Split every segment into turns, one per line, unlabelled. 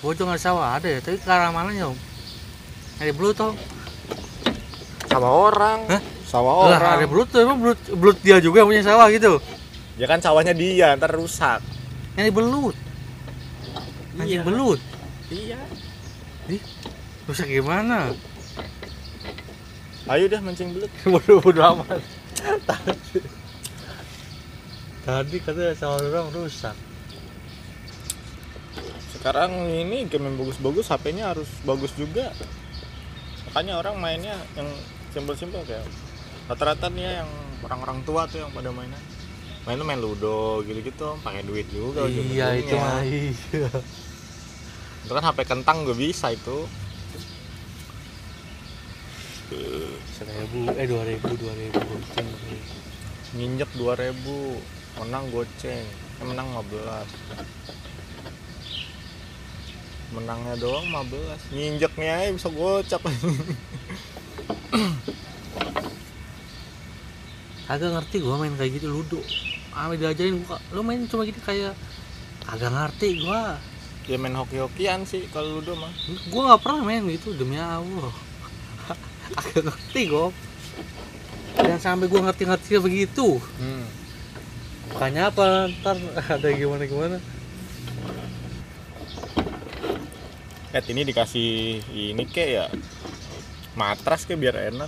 Bojong ada sawah ada ya, tapi ke arah mananya om? Ada belut om?
Sama orang.
Hah?
Sawah
Lah
orang.
ada belut tuh, emang belut, belut dia juga yang punya sawah gitu
Ya kan sawahnya dia, ntar rusak.
Ini belut Anjing
Iya.
belut
Iya.
Rusak gimana?
Ayo dah mancing belut.
Bodoh bodoh amat Tadi katanya sawah orang rusak
Sekarang ini game yang bagus-bagus, HP-nya harus bagus juga. Makanya orang mainnya yang simpel-simpel kayak rata-rata nih ya yang orang-orang tua tuh yang pada mainnya. Main tuh main ludo gitu-gitu, pakai duit
Iya
juga.
itu
ujung-ujungnya.
mah iya
Itu kan HP kentang gue bisa itu.
Seribu, eh dua ribu, dua ribu goceng.
Nginjek 2000, menang goceng. Eh, menang 15. Menangnya doang 15. Nginjeknya aja bisa gocap.
Kagak ngerti gua main kayak gitu ludo Ame diajarin gua, lo main cuma gitu kayak Kagak ngerti gua
ya main hoki-hokian sih kalau ludo mah.
Gua nggak pernah main gitu, demi Allah Kagak ngerti gua Dan sampai gua ngerti-ngerti begitu
Hmm.
Makanya apa, ntar ada gimana-gimana
Kat ini dikasih ini kayak ya matras kayak biar enak.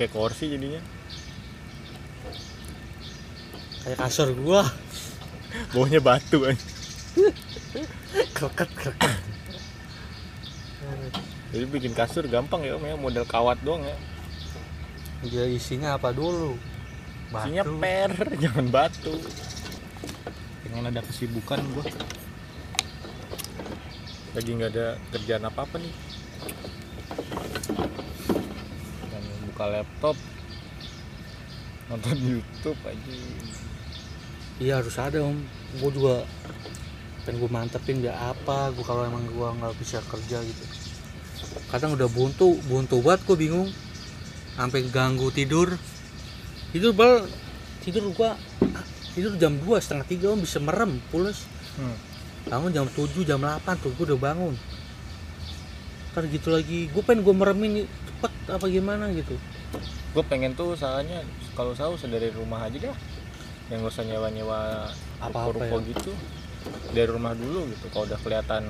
Kayak kursi jadinya.
Kayak kasur gua
Bawahnya batu aja.
Kreket, kreket
Jadi bikin kasur gampang ya, Om, ya model kawat doang ya.
Dia isinya apa dulu?
Isinya
Batu.
per, jangan batu. Pengen ada kesibukan gua. Lagi nggak ada kerjaan apa-apa nih. Dan buka laptop, nonton YouTube aja.
Iya harus ada om. Gue juga pengen gue mantepin biar apa. Gue kalau emang gue nggak bisa kerja gitu. Kadang udah buntu, buntu banget gue bingung. Sampai ganggu tidur. Tidur bal, tidur gue tidur jam 2, setengah tiga om bisa merem pules
Hmm.
bangun jam 7 jam 8 tuh gue udah bangun ntar gitu lagi gue pengen gue meremin cepet apa gimana gitu
Gue pengen tuh usahanya kalau saus dari rumah aja dah. Yang gak usah nyewa-nyewa
Apa-apa
ruko-ruko
ya?
gitu. Dari rumah dulu gitu. Kalau udah kelihatan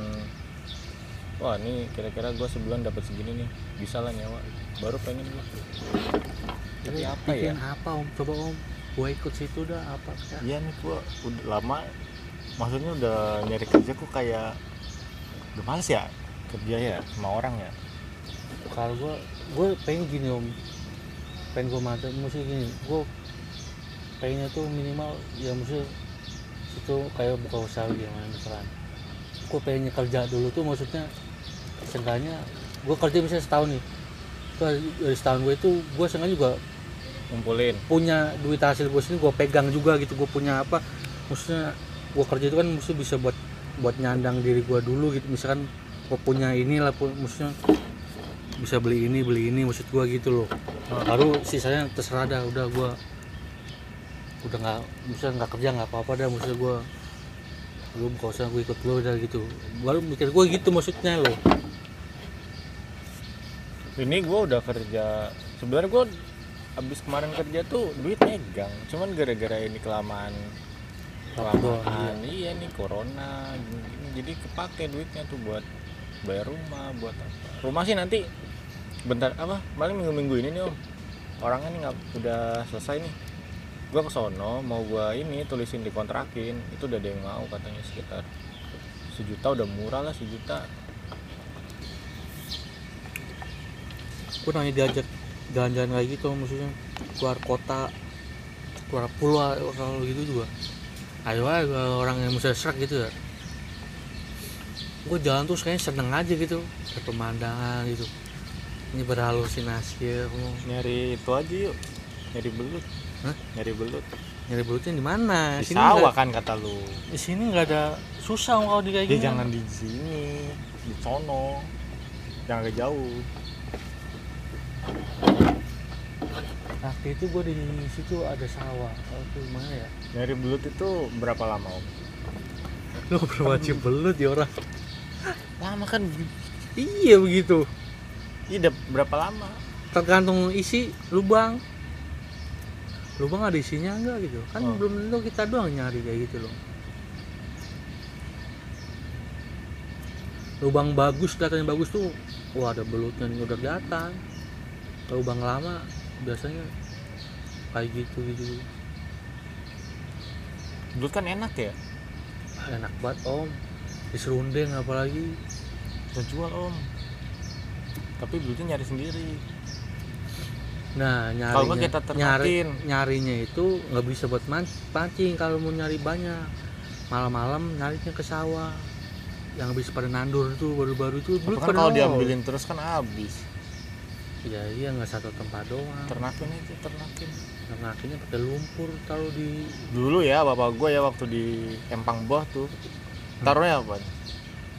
wah ini kira-kira gue sebulan dapat segini nih, bisa lah nyewa. Baru pengen gue. Tapi
Gua
apa ya?
bikin apa om coba om gue ikut situ dah apa kah?
Iya nih gue udah lama maksudnya udah nyari kerja kok kayak udah males ya kerja ya sama orang ya
kalau gue gue pengen gini om pengen gue mantep mesti gini gue pengennya tuh minimal ya mesti itu kayak buka usaha gitu, gimana misalkan gue pengen kerja dulu tuh maksudnya seenggaknya gue kerja misalnya setahun nih itu dari setahun gue itu gue seenggaknya juga
ngumpulin
punya duit hasil gue sini gue pegang juga gitu gue punya apa maksudnya gue kerja itu kan mesti bisa buat buat nyandang diri gue dulu gitu misalkan gue punya inilah pu- maksudnya bisa beli ini beli ini maksud gue gitu loh baru sisanya terserah dah udah gue udah nggak bisa nggak kerja nggak apa-apa dah maksud gue lu buka usaha gue ikut lu udah gitu baru mikir gue gitu maksudnya loh
ini gue udah kerja sebenarnya gue abis kemarin kerja tuh duit megang cuman gara-gara ini kelamaan
Lockdown,
kelamaan iya nih corona gini-gini. jadi kepake duitnya tuh buat bayar rumah buat apa rumah sih nanti bentar apa paling minggu-minggu ini nih om orangnya nih nggak udah selesai nih gue ke sono mau gue ini tulisin dikontrakin itu udah ada yang mau katanya sekitar sejuta udah murah lah sejuta
gue nanya diajak jalan-jalan kayak gitu maksudnya keluar kota keluar pulau kalau gitu juga ayo aja kalau orang yang musuh serak gitu ya gue jalan tuh kayaknya seneng aja gitu ada pemandangan gitu ini berhalusinasi ya kamu
nyari itu aja yuk nyari belut
Hah?
nyari belut
nyari belutnya di mana
di
Sini
sawah
nggak-
kan kata lu
di sini nggak ada susah om kalau di kayak
dia
gini
jangan di sini di sono jangan ke jauh
waktu itu gue di situ ada sawah itu mana ya
nyari belut itu berapa lama om
lu berwajib belut ya orang
lama kan
iya begitu
iya dap- berapa lama
tergantung isi lubang lubang ada isinya enggak gitu kan
Oh.
belum tentu kita doang nyari kayak gitu loh lubang bagus datanya bagus tuh wah ada belutnya nih udah kelihatan kalau lubang lama biasanya kayak gitu gitu
belut kan enak ya
Ah, enak banget om diserundeng apalagi
bisa jual om tapi belutnya nyari sendiri
nah
Kalau nggak
nyarinya
kita ternatin.
nyari nyarinya itu nggak bisa buat man- pancing kalau mau nyari banyak malam-malam nyarinya ke sawah yang habis pada nandur tuh baru-baru itu
tapi
dulu
kan
pada
kalau
nol.
diambilin terus kan habis
iya iya nggak satu tempat doang
ternakin itu ternakin
nah, akhirnya pakai lumpur taruh di
dulu ya bapak gue ya waktu di empang buah tuh taruhnya apa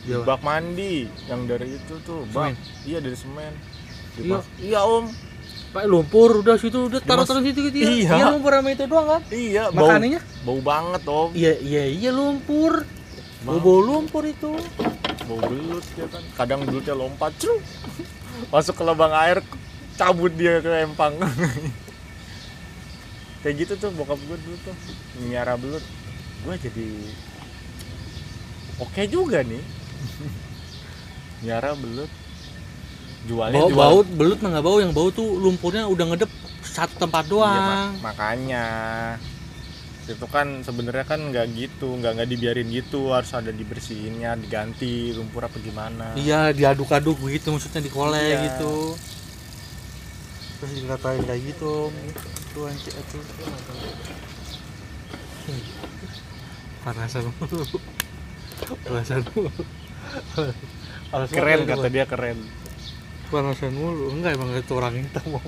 di apa?
bak mandi yang dari itu tuh bak
Iya. Semen.
iya dari semen Di
Iya.
bak- iya om
pakai lumpur udah situ udah taruh taruh situ gitu ya
Iya.
lumpur sama itu doang kan
iya bau
makanannya
bau banget om
iya iya iya lumpur
Bau.
bau bau lumpur itu
bau belut ya kan kadang belutnya lompat cru masuk ke lubang air cabut dia ke empang kayak gitu tuh bokap gue dulu tuh miara belut gue jadi oke juga nih miara belut jualnya
bau
jual-
bau belut mah nggak bau yang bau tuh lumpurnya udah ngedep satu tempat doang
Iya, mak- makanya itu kan sebenarnya kan nggak gitu nggak nggak dibiarin gitu harus ada dibersihinnya diganti lumpur apa gimana
Iya diaduk-aduk begitu maksudnya dikolek
Iya.
gitu. Terus dikatain kayak gitu, itu anci itu. Hmm. Panasan mulu. Panasan mulu. Panasan
keren
mulu,
kata dia keren
Panasan mulu. Enggak emang itu orang hitam mau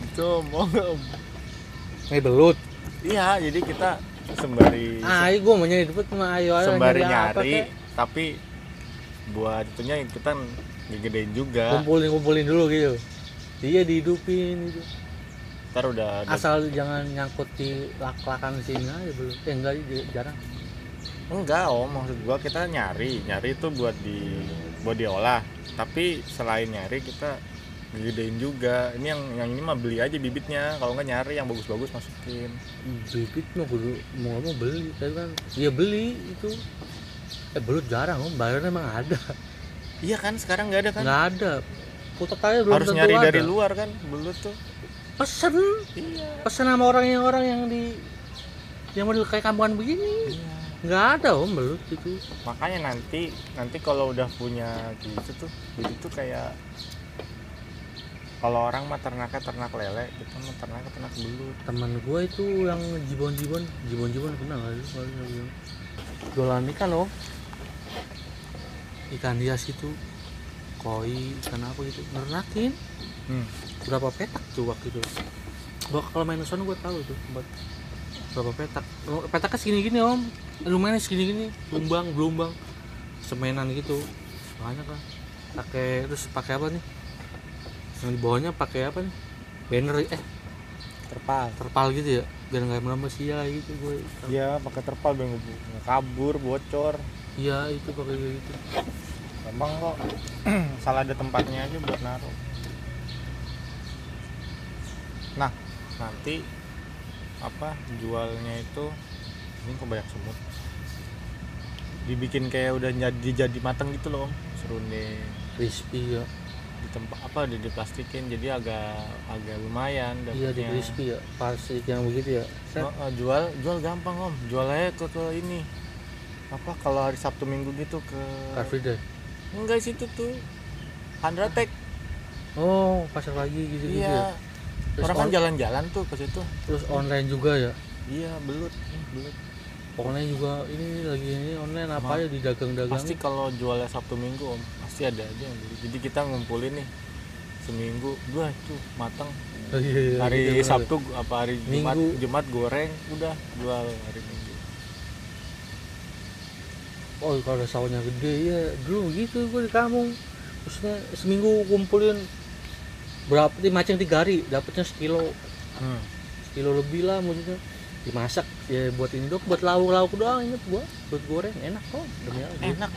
itu mau nggak?
Ini belut.
iya jadi kita sembari
Ah, ayo gue mau nyari dapet mah ayo ayo
Iya. sembari
apa,
nyari
kek.
tapi buat itunya kita ngegedein juga
Kumpulin kumpulin dulu gitu. Iya dihidupin gitu.
ntar udah ada-
Asal jangan nyangkut di lak-lakan sini aja belum. Eh enggak j- jarang.
enggak om maksud gua kita nyari nyari itu buat di buat diolah tapi selain nyari kita gedein juga ini yang yang ini mah beli aja bibitnya kalau nggak nyari yang bagus-bagus masukin
bibit mah kudu mau nggak mau beli tapi kan ya beli itu eh belut jarang om bayarnya emang ada
iya kan sekarang nggak ada kan
nggak ada putar aja belum
harus
tentu
nyari
ada.
dari luar kan belut tuh
pesen
iya
pesen sama orang yang orang yang di yang model kayak kampungan begini
Iya.
nggak ada om belut itu
makanya nanti nanti kalau udah punya gitu tuh jadi tuh kayak kalau orang mah ternaknya ternak lele kita mah ternaknya ternak belut
teman gua itu yang jibon jibon jibon jibon kenal nggak sih Kalau yang bilang. jualan ikan oh. om ikan hias itu koi ikan apa gitu ngernakin
hmm.
berapa petak tuh waktu itu gua kalau main sono gue tahu tuh tempat berapa petak Lu- petaknya segini gini om lumayan segini gini gelombang gelombang semenan gitu makanya kan pakai terus pakai apa nih yang di bawahnya pakai apa nih banner eh
terpal
terpal gitu ya biar nggak merambah sia gitu gue
iya pakai terpal biar nggak bu- nggak kabur bocor
iya itu pakai kayak gitu
gampang kok salah ada tempatnya aja buat naruh nah nanti apa jualnya itu ini kok banyak semut dibikin kayak udah jadi jadi mateng gitu loh Om. serundeng
crispy ya
di tempat apa di diplastikin jadi agak agak lumayan
iya di
dapatnya.
crispy ya plastik yang begitu ya set
Oh, oh, jual jual gampang om jual aja ke, ke ini apa kalau hari Sabtu Minggu gitu ke
car free day
enggak situ tuh Handratek
oh pasar pagi gitu gitu ya
iya
terus,
orang kan
on-
jalan-jalan tuh ke situ
terus online juga ya
iya belut Hmm, belut
Pokoknya juga ini lagi ini online apa
Emang?
aja didagang-dagang.
pasti kalau jualnya Sabtu Minggu om pasti ada aja yang beli jadi kita ngumpulin nih seminggu dua tuh mateng
Oh, iya, iya,
hari
gitu,
Sabtu apa hari Jumat
Minggu.
Jumat goreng udah jual hari Minggu
bener. Oh kalau ada sawahnya gede ya dulu gitu gue di kampung. Maksudnya seminggu kumpulin berapa macam tiga hari dapatnya sekilo
Hmm.
sekilo lebih lah maksudnya dimasak ya buat ini dok buat lauk lauk doang inget gua buat goreng enak kok demi Allah.
enak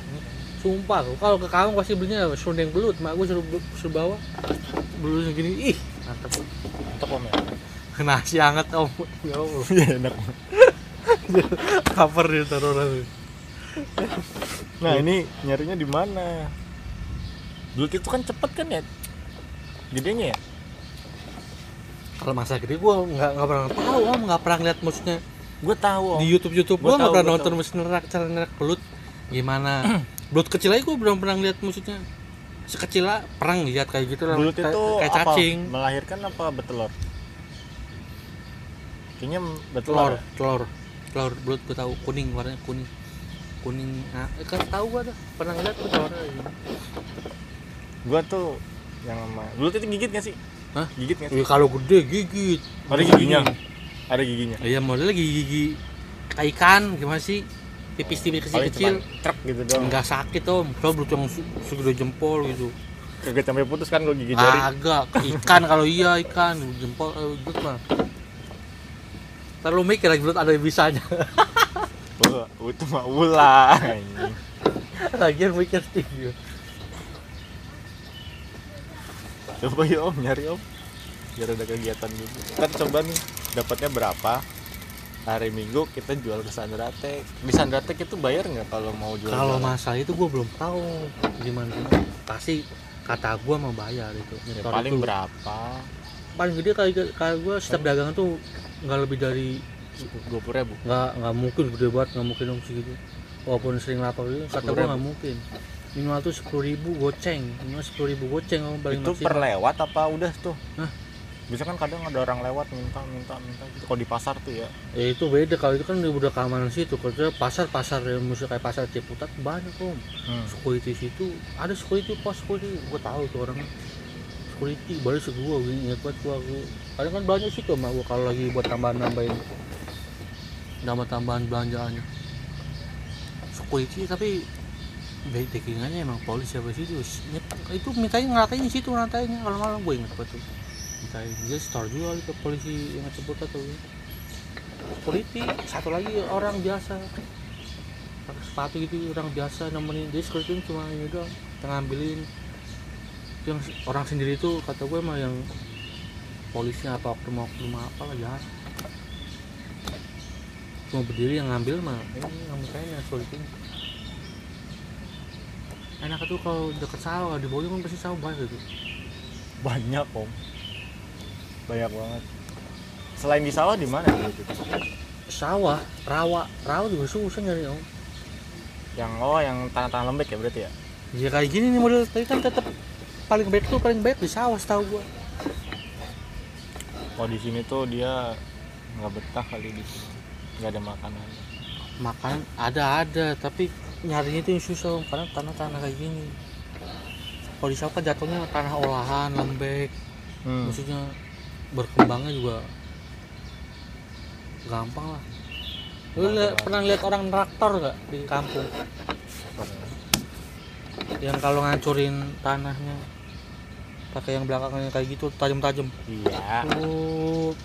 sumpah kok kalau ke kampung pasti belinya serundeng belut mak gua suruh suruh bawa belut gini ih mantep
mantap om ya
nasi hangat om ya Allah
Iya, enak
cover dia taruh lalu
nah ini nyarinya di mana belut itu kan cepet kan ya gedenya ya
kalau masa gede gua nggak nggak pernah tahu om nggak pernah lihat maksudnya
gue tahu om
di YouTube YouTube gua
Gua
nggak
tahu,
pernah
gua
nonton
tahu.
mesin nerak cara nerak belut gimana belut kecil aja gua belum pernah lihat maksudnya sekecil lah perang lihat kayak gitu lah
belut
kayak-
itu
kayak
apa
cacing
melahirkan apa betelor kayaknya betelor
telur telur telur belut gua tahu kuning warnanya kuning kuning nah, eh, kan tahu gua dah pernah lihat gua telurnya
gue tuh yang sama belut itu gigit gak sih
Hah?
gigit gak sih
Ya, kalau gede gigit
ada giginya ada giginya
iya modelnya gigi gigi kayak ikan gimana sih tipis-tipis
Paling
kecil-kecil
cuman trek gitu doang
nggak sakit om kalau belut yang se- segede jempol gitu
kagak sampai putus kan kalau gigi jari
Agak ikan kalau iya ikan jempol eh, belut mah. Ntar lu mikir lagi belut ada bisanya.
Wah, itu mah ular anjing.
Lagian mikir tinggi.
coba yuk om nyari om biar ada kegiatan gitu kita coba nih dapatnya berapa hari minggu kita jual ke Sandratek di Sandratek itu bayar nggak kalau mau jual
Kalau masalah itu gua belum tahu gimana gimana. Pasti kata gua mau bayar itu.
Ya,
Nyetor
paling
itu.
berapa
paling gede kali kali gua setiap dagangan tuh nggak lebih dari
dua puluh ribu
nggak nggak mungkin gede banget nggak mungkin dong segitu. Walaupun sering lapar gitu, kata gua
10.000.
nggak mungkin. Minimal tuh sepuluh ribu goceng, minimal sepuluh ribu goceng om, paling
itu per lewat apa udah tuh
Hah?
bisa kan kadang ada orang lewat minta minta minta gitu kalau di pasar tuh ya
Ya itu beda kalau itu kan udah keamanan situ. Kalau itu pasar pasar yang musuh kayak pasar Ciputat banyak om.
Hmm.
Security situ ada security pos security. Gue tahu tuh orang security baru segua gue ingat banget gua gua. Kadang kan banyak situ mah gua kalau lagi buat tambahan tambahin nama tambahan belanjaannya. Security tapi baik backingannya emang polisi apa situ Nyet- itu mintanya ngelatainya situ ngelatainya kalau malam gue inget banget tuh mintain dia store juga kali ke polisi yang Ciputat tuh security satu lagi orang biasa pakai sepatu gitu orang biasa nemenin dia security itu cuma ini doang kita ngambilin Itu yang se- orang sendiri itu kata gue mah yang polisnya apa waktu mau rumah apa lah jahat cuma berdiri yang ya ngambil mah ini ngambil kayaknya security enak tuh kalau deket sawah di Boyong kan pasti sawah banyak gitu
banyak om banyak banget selain di sawah di mana ya itu
sawah rawa rawa juga susah nyari om
yang oh yang tanah-tanah lembek ya berarti ya
Ya kayak gini nih model tadi kan tetap paling baik tuh paling baik di sawah setahu gua.
Oh di sini tuh dia nggak betah kali di sini, nggak ada makanan.
Makan ada ada tapi nyarinya itu yang susah Om. karena tanah-tanah kayak gini. Kalau di sawah kan jatuhnya tanah olahan lembek,
Hmm.
maksudnya berkembangnya juga gampang lah. Lu
Gampang
li-
banget.
pernah lihat orang traktor nggak di kampung yang kalau ngancurin tanahnya pakai yang belakangnya kayak gitu tajam-tajam.
Iya.
Tuh,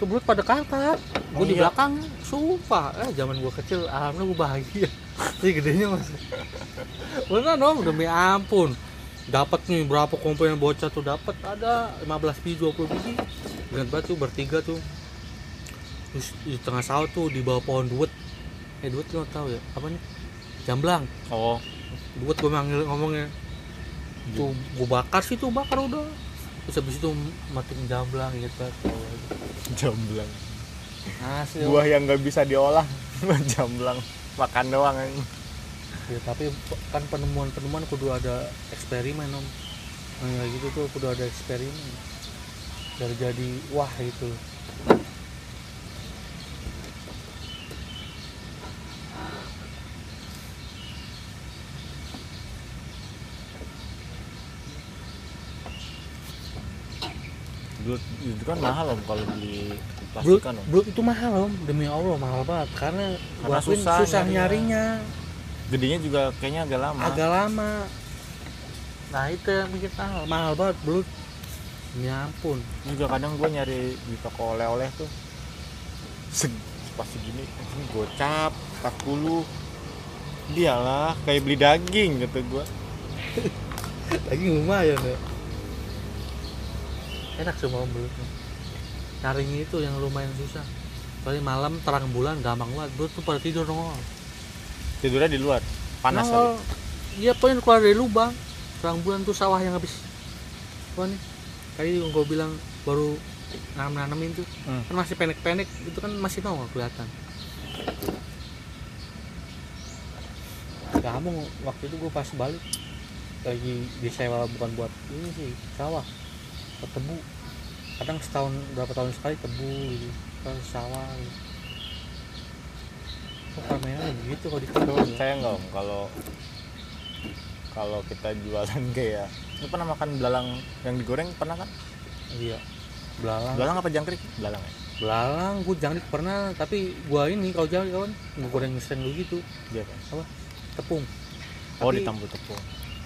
tuh belut pada kakak. Gue
Oh,
di
iya?
belakang, sumpah. Eh, zaman gue kecil, alhamdulillah gue bahagia. Ini gedenya mas. Beneran dong, demi ampun. Dapat nih berapa komplain bocah tuh dapat ada 15 biji, 20 biji. Berat banget tuh bertiga tuh. Terus di tengah sawah tuh di bawah pohon duet. Eh duet lo tau ya? Apa nih? Jamblang.
Oh.
Duet gue manggil ngomongnya. Tuh gue bakar sih tuh bakar udah. Terus habis itu matiin jamblang gitu.
Jamblang.
Asli.
Buah yang nggak bisa diolah, jamblang. Makan doang kan.
Ya, tapi pe- kan penemuan-penemuan kudu ada eksperimen om. Nah, kayak gitu tuh kudu ada eksperimen. Biar jadi wah gitu.
Belut itu kan mahal om kalau beli
Belut,
plastikan om.
belut itu mahal om, demi Allah mahal banget karena,
Karena
gua akuin
susah
susah,
nyarinya.
nyarinya,
Gedenya juga kayaknya agak lama.
agak lama. Nah itu yang bikin mahal, mahal banget belut. Ya ampun,
Juga kadang gue nyari di toko oleh-oleh tuh. Se- pas segini anjing gocap 40 dialah kayak beli daging gitu gua
lagi lumayan ya enak sih mau beli Nyaring itu yang lumayan susah paling malam terang bulan gampang banget bro tuh pada tidur nongol
tidurnya di luar panas
nongol
kali
iya paling keluar dari lubang terang bulan tuh sawah yang habis apa nih tadi yang gua bilang baru nanam-nanamin tuh
Hmm.
kan masih pendek-pendek itu kan masih nongol kelihatan kamu waktu itu gue pas balik lagi disewa bukan buat ini sih sawah buat tebu kadang setahun berapa tahun sekali tebu gitu kan sawah gitu kok permainannya begitu kalau di kantor ya?
saya nggak Om, kalau kalau kita jualan kayak lu pernah makan belalang yang digoreng pernah kan
iya belalang
belalang apa jangkrik belalang ya
belalang gue jangkrik pernah tapi gua ini kalau jangkrik kawan gue goreng sering dulu gitu
Iya kan?
apa tepung
oh
Tapi-
ditambah tepung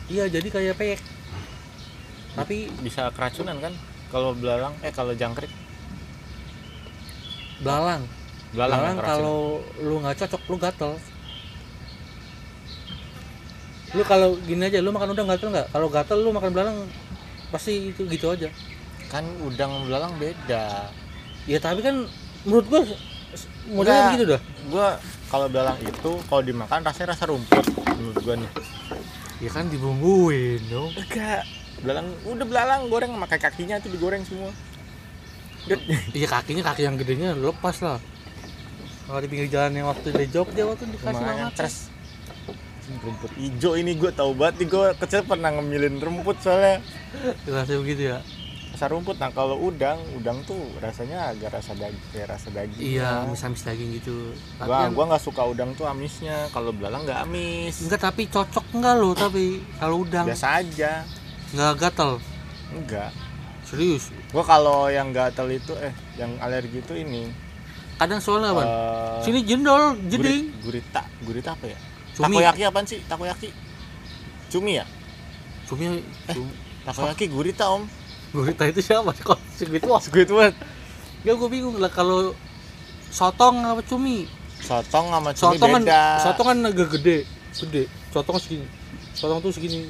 iya jadi kayak peyek tapi
bisa keracunan kan kalau belalang eh kalau jangkrik
belalang
belalang, yang
Belalang
keracunan.
kalau lu nggak cocok lu gatel. Lu kalau gini aja lu makan udang gatel nggak? Kalau gatel lu makan belalang pasti itu gitu aja.
kan udang sama belalang beda
Ya tapi kan menurut gua s- modelnya
Nggak.
begitu dah.
gua kalau belalang itu kalau dimakan rasanya rasa rumput menurut gua nih
Ya kan dibumbuin dong.
enggak belalang udah belalang goreng sama kaki kakinya itu digoreng semua
Iya kakinya kaki yang gedenya lepas lah. Kalau di pinggir jalan yang waktu di Jogja waktu dikasih nama
Lumayan, tres rumput hijau ini gua tahu banget nih gua kecil pernah ngemilin rumput soalnya
Jelasnya begitu ya.
rasa rumput nah kalau udang udang tuh rasanya agak rasa daging kayak rasa daging
Iya, amis-amis daging gitu. Tapi
gua
kan-
gua nggak suka udang tuh amisnya kalau belalang nggak amis
enggak tapi cocok enggak lo tapi kalau udang
biasa aja
enggak gatel.
enggak
Serius.
gua kalau yang gatel itu eh yang alergi itu ini
Kadang soalnya apa?
eh,
Sini jendol,
guri-
jeding.
gurita gurita apa ya
Cumi.
takoyaki apaan sih takoyaki cumi ya
Cumi,
takoyaki gurita om
gurita itu siapa? Kok segitu was?
Seguit banget
Ya gue bingung lah kalau sotong apa cumi?
sotong sama cumi
Sotong kan,
beda
sotong kan agak gede, gede. Sotong segini, sotong tuh segini.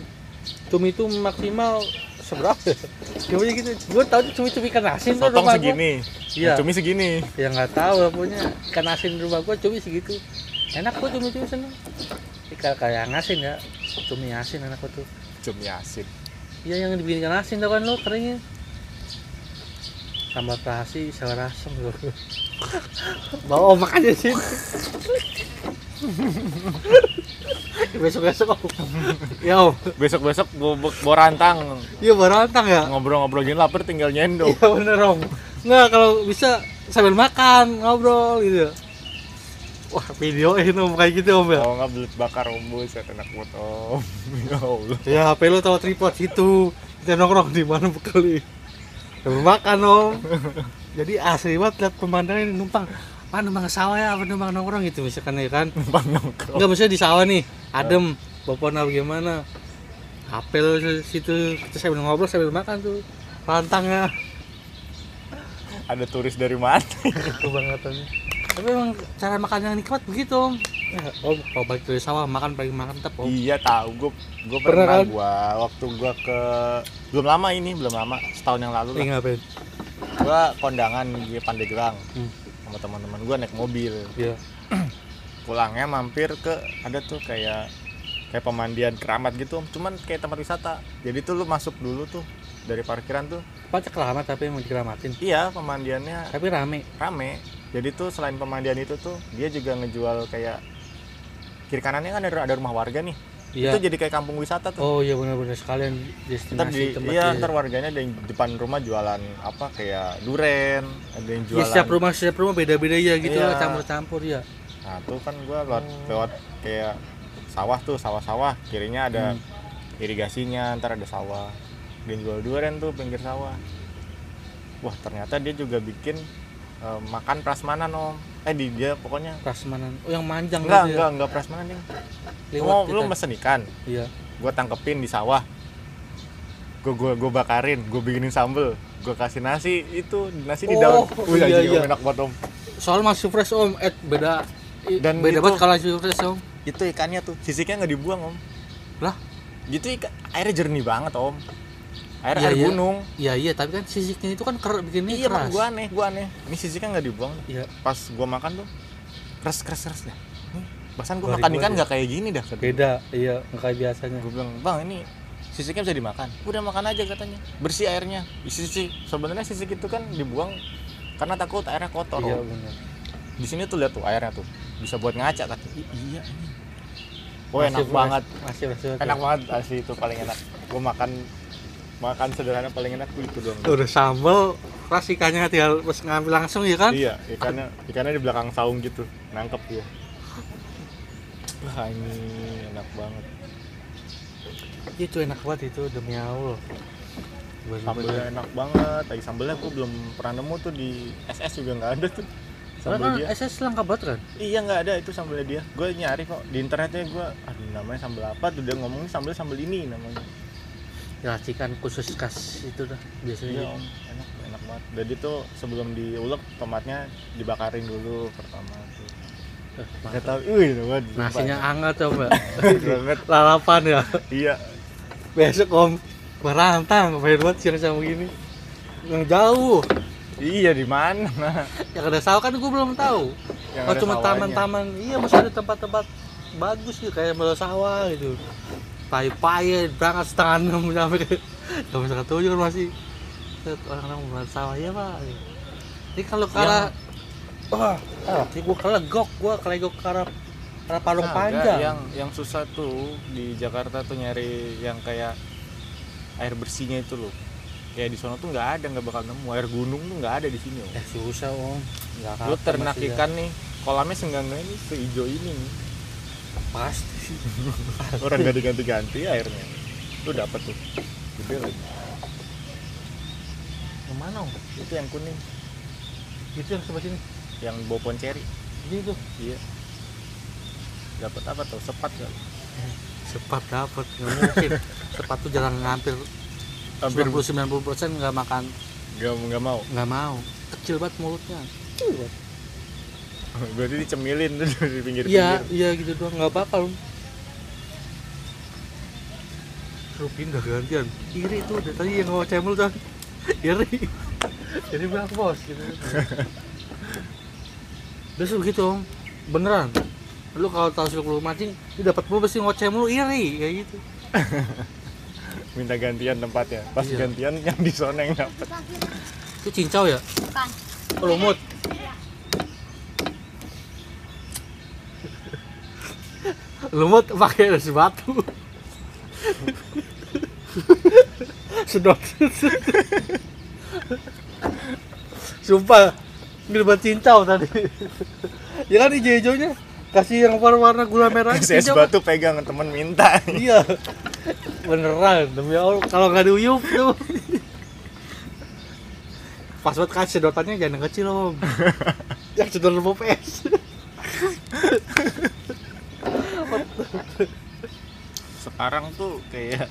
Cumi itu maksimal seberapa? Cumi gitu. Gue tau tuh cumi-cumi ikan asin tuh
sotong
rumah gua.
segini Nah,
Iya.
cumi segini
Ya nggak tahu lah punya ikan asin di rumah gue cumi segitu. Enak gue cumi-cumi seneng. Ikan kayak yang asin ya, cumi asin enak gua tuh.
cumi asin
Iya yang dibikin ikan asin tau kan lo keringnya Sambal terasi, selera asem lo Bawa omak aja sih Besok-besok om Ya om,
besok besok bobok borantang
iya barantang ya
ngobrol-ngobrol gini lapar tinggal nyendok
Iya bener om Nggak kalau bisa sambil makan, ngobrol gitu Wah videoin om kayak gitu om ya
kalau Oh, nggak belut bakar om buset enak banget om ya allah
Ya HP lo tahu tripod situ. Kita nongkrong di mana bekali. Sambil makan om. Jadi asli banget lihat pemandangan ini numpang. Apa numpang ke sawah ya, apa numpang nongkrong gitu misalkan ya kan.
numpang nongkrong
Enggak maksudnya di sawah nih, adem, bopona gimana. HP lo situ, terus sambil ngobrol sambil makan tuh. Pantang ya,
ada turis dari mana
kebangetannya. Tapi emang cara makan yang nikmat begitu om. Ya, om, kalau balik dari sawah makan paling makan tetap om.
iya tahu gue gue
Oh. Pernah
pernah,
kan?
gua waktu gua ke belum lama ini belum lama setahun yang lalu lah
Ini ngapain?
gue kondangan di Pandeglang
Hmm.
sama teman-teman gue naik mobil
Iya.
pulangnya mampir ke ada tuh kayak kayak pemandian keramat gitu Om. cuman kayak tempat wisata jadi tuh lu masuk dulu tuh dari parkiran tuh
Pacak lama tapi emang dikeramatin.
iya pemandiannya
Tapi rame.
rame jadi tuh selain pemandian itu tuh dia juga ngejual kayak kiri kanannya kan ada, ada rumah warga nih
Iya.
itu jadi kayak kampung wisata tuh
Oh iya benar-benar sekalian
ntar
destinasi
di,
tempat
iya
dia.
ntar warganya ada yang di depan rumah jualan apa kayak duren ada yang
Ya,
jualan
setiap rumah setiap rumah beda-beda ya gitu
Iya.
lah campur-campur ya.
nah tuh kan gua lewat
Hmm.
lewat kayak sawah tuh sawah-sawah kirinya ada
Hmm.
irigasinya ntar ada sawah Ada yang jual duren tuh pinggir sawah wah ternyata dia juga bikin eh, makan prasmanan om eh di dia pokoknya
Prasmanan. Oh yang manjang
enggak
gitu
enggak enggak prasmanan dia
ya. Lewat
mau
kita.
lu mesen ikan
Iya.
gue tangkepin di sawah gue gua gua bakarin gue bikinin sambel gue kasih nasi itu nasi di
Oh,
daun
iya,
anjing,
iya.
om, enak banget om
soal masih fresh om eh beda i-
Dan
beda
itu-
banget kalau masih fresh om
itu ikannya tuh sisiknya nggak dibuang om
lah
gitu ika- airnya jernih banget om air
Iya,
air
iya.
gunung
iya iya tapi kan sisiknya itu kan ker bikin dia
iya
keras
mak gua aneh gua aneh ini sisiknya nggak dibuang
iya
pas gua makan tuh keras keras keras dah Nih, bahkan gua
Dari
makan
gua
ikan
deh.
nggak kayak gini dah
beda iya nggak kayak biasanya
gue bilang bang ini sisiknya bisa dimakan udah makan aja katanya bersih airnya sisik sebenarnya sisik itu kan dibuang karena takut airnya kotor
iya
Om.
benar
di sini tuh lihat tuh airnya tuh bisa buat ngaca kata I- iya ini oh
Masih
enak
fresh,
banget
masih fresh banget.
enak banget asli itu paling enak gue makan makan sederhana paling enak tuh itu doang
udah sambel keras ikannya tinggal pas ngambil langsung ya kan
iya ikannya ikannya di belakang saung gitu nangkep dia wah ini enak banget
itu enak banget itu demi allah Gua juga-
sambelnya enak banget lagi sambelnya gue belum pernah nemu tuh di SS juga nggak ada tuh
Soalnya
sambel dia
kan SS lengkap banget kan
iya nggak ada itu sambelnya dia gue nyari kok di internetnya gue aduh namanya sambel apa tuh dia ngomongnya sambel sambel ini namanya
racikan Ya, khusus khas itu dah
iya
biasanya
om enak enak banget jadi tuh sebelum diulek tomatnya dibakarin dulu pertama tuh
Eh,
nggak
mantap.
tahu wih enak banget
nasinya hangat ya mbak
Enak banget
lalapan ya
iya
besok om berantang pengen buat siang siang begini yang jauh
iya di mana
yang ada sawah kan gue belum tahu
Yang
oh
ada
cuma
sawahnya.
taman-taman iya masih ada tempat-tempat bagus gitu kayak melo sawah gitu pai pai berangkat setengah enam sampai ke sampai setengah tujuh kan masih Set, orang-orang berangkat sawah ya pak ini kalau kalah wah ah, ini gue kelegok gue kelegok ke arah ke arah palung
Nah,
panjang
enggak, yang yang susah tuh di Jakarta tuh nyari yang kayak air bersihnya itu loh ya di sono tuh nggak ada nggak bakal nemu air gunung tuh nggak ada di sini om
eh susah om Nggak
lu
apa-apa,
ternak
masih
ikan nih kolamnya senggangganya ini seijo ini nih.
ada. pasti
orang nggak diganti-ganti airnya lu dapet tuh gede lagi
yang mana om
itu yang kuning
itu yang sebelah sini
yang bopon ceri
ini tuh
iya dapat apa tuh sepat nggak?
sepat dapat nggak mungkin sepat tuh jarang hampir 90 persen nggak makan
nggak nggak mau
nggak mau kecil banget mulutnya
berarti dicemilin tuh di pinggir
iya iya gitu doang nggak bakal Rupin udah gantian iri tuh dari tadi yang mau cemil tuh iri jadi bilang bos gitu terus begitu gitu, om beneran lu kalau tahu hasil lu mancing lu dapat mulu pasti ngoceh mulu iri kayak gitu
minta gantian tempatnya pas
Iya.
gantian yang di sono yang dapat
itu cincau ya
Bukan.
lumut lumut pakai nasi batu sedot sumpah ini buat cincau tadi ya kan hijau-hijaunya kasih yang warna-warna gula merah
Kasih es
cincau kan?
batu pegang temen minta
iya beneran demi allah kalau nggak diuyup tuh pas buat kan sedotannya jangan yang kecil om yang sedot lembu PS
sekarang tuh kayak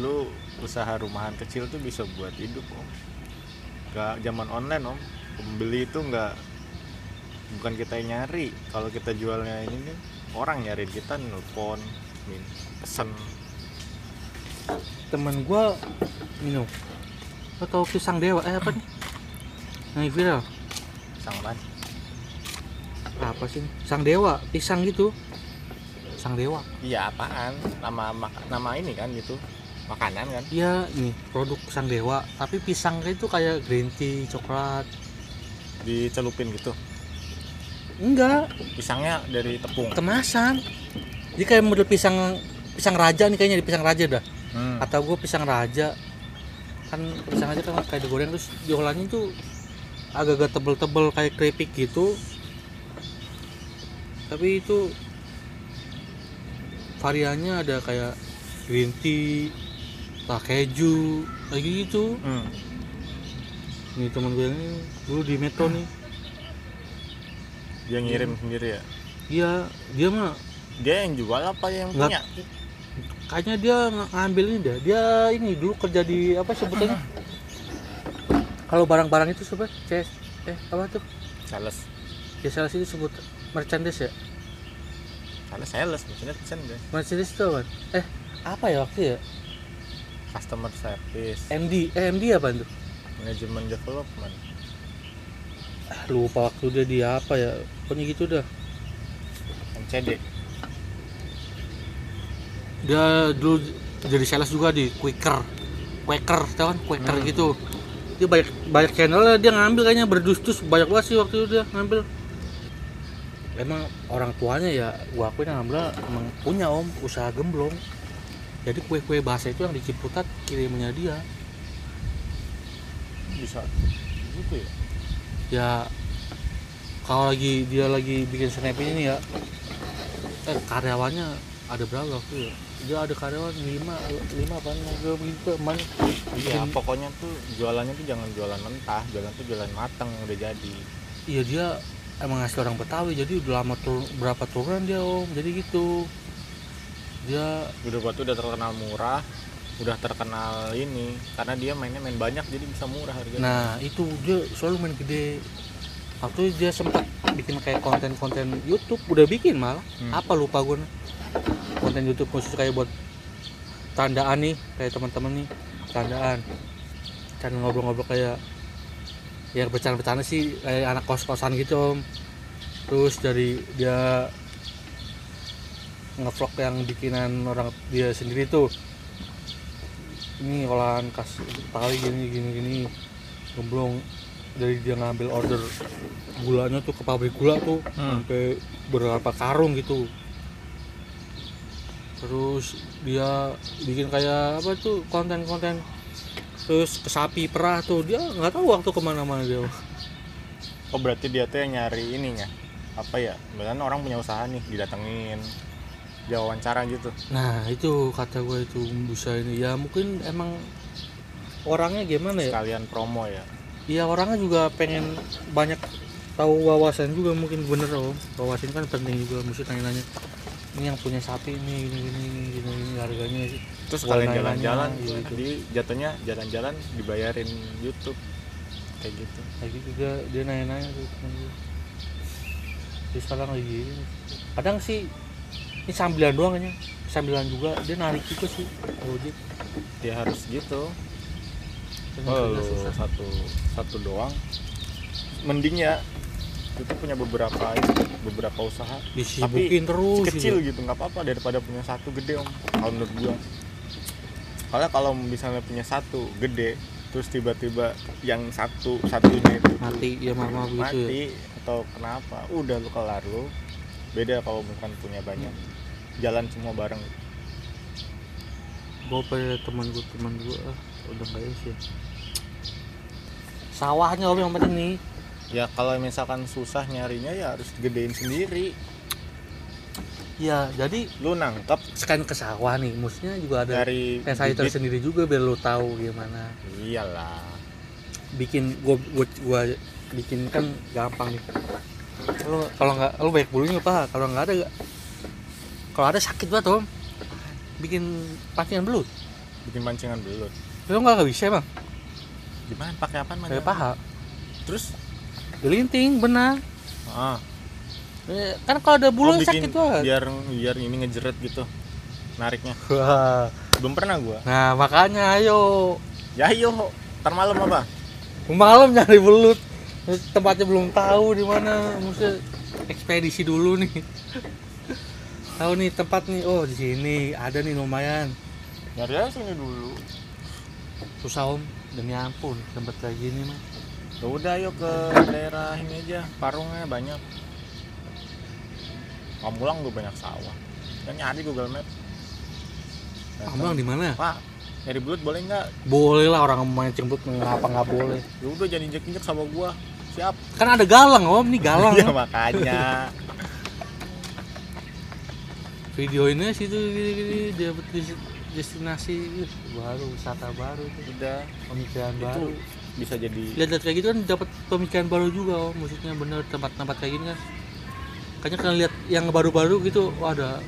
lu usaha rumahan kecil tuh bisa buat hidup om gak zaman online om pembeli itu nggak bukan kita yang nyari kalau kita jualnya ini nih orang nyari kita nelpon min- pesen
temen gua minum lo tau pisang dewa eh apa nih Nah, yang viral
sang ban
apa sih ini? sang dewa pisang gitu sang dewa
iya apaan nama mak- nama ini kan gitu makanan kan
iya nih produk sang dewa tapi pisangnya itu kayak green tea coklat
dicelupin gitu
enggak
pisangnya dari tepung
kemasan jadi kayak model pisang pisang raja nih kayaknya di pisang raja dah
Hmm.
atau gue pisang raja kan pisang raja kan kayak digoreng terus diolahnya tuh agak-agak tebel-tebel kayak keripik gitu tapi itu variannya ada kayak green tea lah keju lagi gitu
Hmm.
nih temen gue ini dulu di metro nih
dia ngirim sendiri ya
dia dia mah
dia yang jual apa ya yang
Nggak-
punya
kayaknya dia ng- ngambil ini dah dia ini dulu kerja di apa sebutannya kalau barang-barang itu sobat CS eh apa tuh
sales
ya sales itu sebut merchandise ya
karena sales maksudnya pesen deh
merchandise itu apa eh apa ya waktu ya
customer service
MD eh MD apa tuh
manajemen development
Ah, lupa waktu dia di apa ya pokoknya gitu dah
MCD
dia dulu jadi sales juga di Quaker Quaker tau kan Quaker
Hmm.
gitu dia banyak banyak channelnya dia ngambil kayaknya berdus-dus banyak banget sih waktu itu dia ngambil emang orang tuanya ya gua akuin yang ngambil emang punya om usaha gemblong jadi kue-kue bahasa itu yang di Ciputat kirimnya dia
bisa gitu ya
ya kalau lagi dia lagi bikin snap ini ya eh karyawannya ada berapa waktu ya dia ada karyawan lima lima apa enam gitu emang
iya
bikin-
pokoknya tuh jualannya tuh jangan jualan mentah jualan tuh jualan mateng udah jadi
Iya dia emang asli orang Betawi jadi udah lama tur- berapa turunan dia om jadi gitu dia
udah buat tuh udah terkenal murah udah terkenal ini karena dia mainnya main banyak jadi bisa murah harganya
nah itu dia selalu main gede waktu itu dia sempat bikin kayak konten-konten YouTube udah bikin malah
Hmm.
apa lupa gue nih. konten YouTube khusus kayak buat tandaan nih kayak teman-teman nih tandaan kan ngobrol-ngobrol kayak ya bercanda-bercanda sih kayak anak kos-kosan gitu om terus dari dia ngevlog yang bikinan orang dia sendiri tuh ini olahan khas Betawi gini gini gini gemblong dari dia ngambil order gulanya tuh ke pabrik gula tuh
Hmm.
sampai berapa karung gitu terus dia bikin kayak apa tuh konten-konten terus ke sapi perah tuh dia nggak tahu waktu kemana-mana dia
oh berarti dia tuh yang nyari ininya apa ya biasanya orang punya usaha nih didatengin dia wawancara gitu
nah itu kata gue itu bisa ini ya mungkin emang orangnya gimana ya
sekalian promo ya
Iya orangnya juga pengen banyak tahu wawasan juga mungkin bener om wawasan kan penting juga mesti nanya-nanya ini yang punya sapi ini gini gini gini gini, gini, harganya sih
terus sekalian
Warna-warnanya,
jalan-jalan
iya gitu.
jadi jatuhnya jalan-jalan dibayarin YouTube kayak gitu
kayak gitu dia dia nanya-nanya tuh temen gue. terus sekarang lagi gini. kadang sih ini sambilan doang aja sambilan juga dia narik juga sih gojek
dia harus gitu
Terus
oh
maksudnya susah.
satu satu doang mending ya YouTube punya beberapa ini, beberapa usaha
disibukin terus gitu.
kecil gitu nggak apa-apa daripada punya satu gede om kalau menurut gua soalnya kalau misalnya punya satu gede terus tiba-tiba yang satu satunya itu
mati ya mama begitu ya.
mati atau kenapa udah lu kelar lu beda kalau bukan punya banyak jalan semua bareng
gue pada ya, teman gue teman gue ah, udah nggak sih ya. sawahnya om yang penting nih
ya kalau misalkan susah nyarinya ya harus gedein sendiri
ya jadi
lu nangkep
scan ke sawah nih musnya juga ada
dari
yang Eh, saya
bibit.
sendiri juga biar lo tahu gimana
iyalah
bikin gua gua, gua bikin kan gampang nih lo kalau nggak lo banyak bulunya apa kalau nggak ada nggak- kalau ada sakit banget om bikin pancingan belut
bikin pancingan belut
lo nggak bisa emang
gimana pakai apa namanya
kayak paha
terus
gelinting benang
ah
Eh, kan kalau ada bulu
Oh,
sakit
bikin
banget
biar biar ini ngejeret gitu nariknya
Wah.
belum pernah gua
Nah makanya ayo
ya ayo ntar malam apa
malam nyari belut tempatnya belum tahu di mana mesti ekspedisi dulu nih tahu nih tempat nih oh di sini ada nih lumayan
nyari aja sini dulu
susah om demi ampun tempat kayak gini mah
ya udah ayo ke daerah ini aja parungnya banyak Pamulang gue banyak sawah dan nyari Google Map
abang di mana
pak nyari belut boleh nggak
boleh lah orang mancing belut ngapa nggak boleh
ya udah jangan injek injek sama gua siap
kan ada galang om nih galang
ya makanya
video ini situ gini, gini dia betis- destinasi ih, baru wisata baru itu
udah
pemikiran
itu
baru
bisa jadi
lihat-lihat kayak gitu kan dapat pemikiran baru juga om maksudnya bener tempat-tempat kayak gini kan kayaknya kalian lihat yang baru-baru gitu wah ada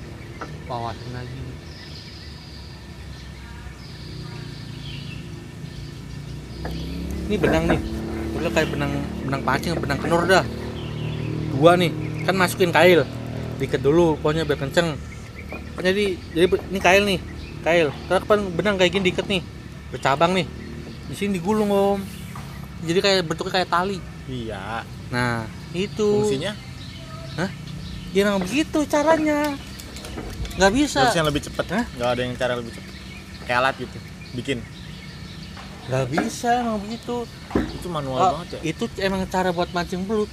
wawasan lagi ini benang nih udah kayak benang benang pancing benang kenur dah dua nih kan masukin kail diket dulu pokoknya biar kenceng pokoknya di jadi be- ini kail nih kail terus kan benang kayak gini diikat nih bercabang nih di sini digulung om jadi kayak bentuknya kayak tali
iya
nah itu
fungsinya
ya nah, begitu caranya nggak bisa
harus yang lebih cepet
Hah?
nggak ada yang cara lebih cepet kayak alat gitu bikin
nggak bisa emang begitu
itu manual
Oh,
banget ya
itu emang cara buat mancing belut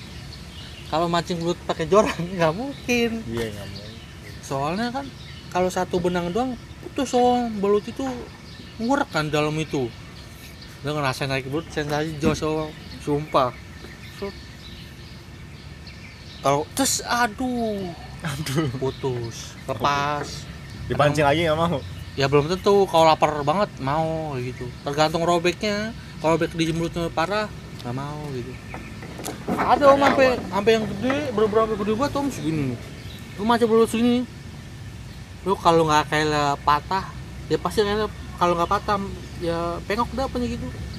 kalau mancing belut pakai joran nggak mungkin
iya nggak mungkin
soalnya kan kalau satu benang doang putus om belut itu ngurek kan dalam itu lo ngerasain naik belut sensasi jos om sumpah Set. kalau terus aduh
aduh
putus lepas
dipancing lagi nggak mau
ya belum tentu kalau lapar banget mau kayak gitu tergantung robeknya kalau robek di mulutnya parah nggak mau gitu ada om sampai sampai yang gede beberapa gede banget om segini nih lu macam belut segini lu kalau nggak kayak patah ya pasti kayak kalau nggak patah ya pengok dah punya gitu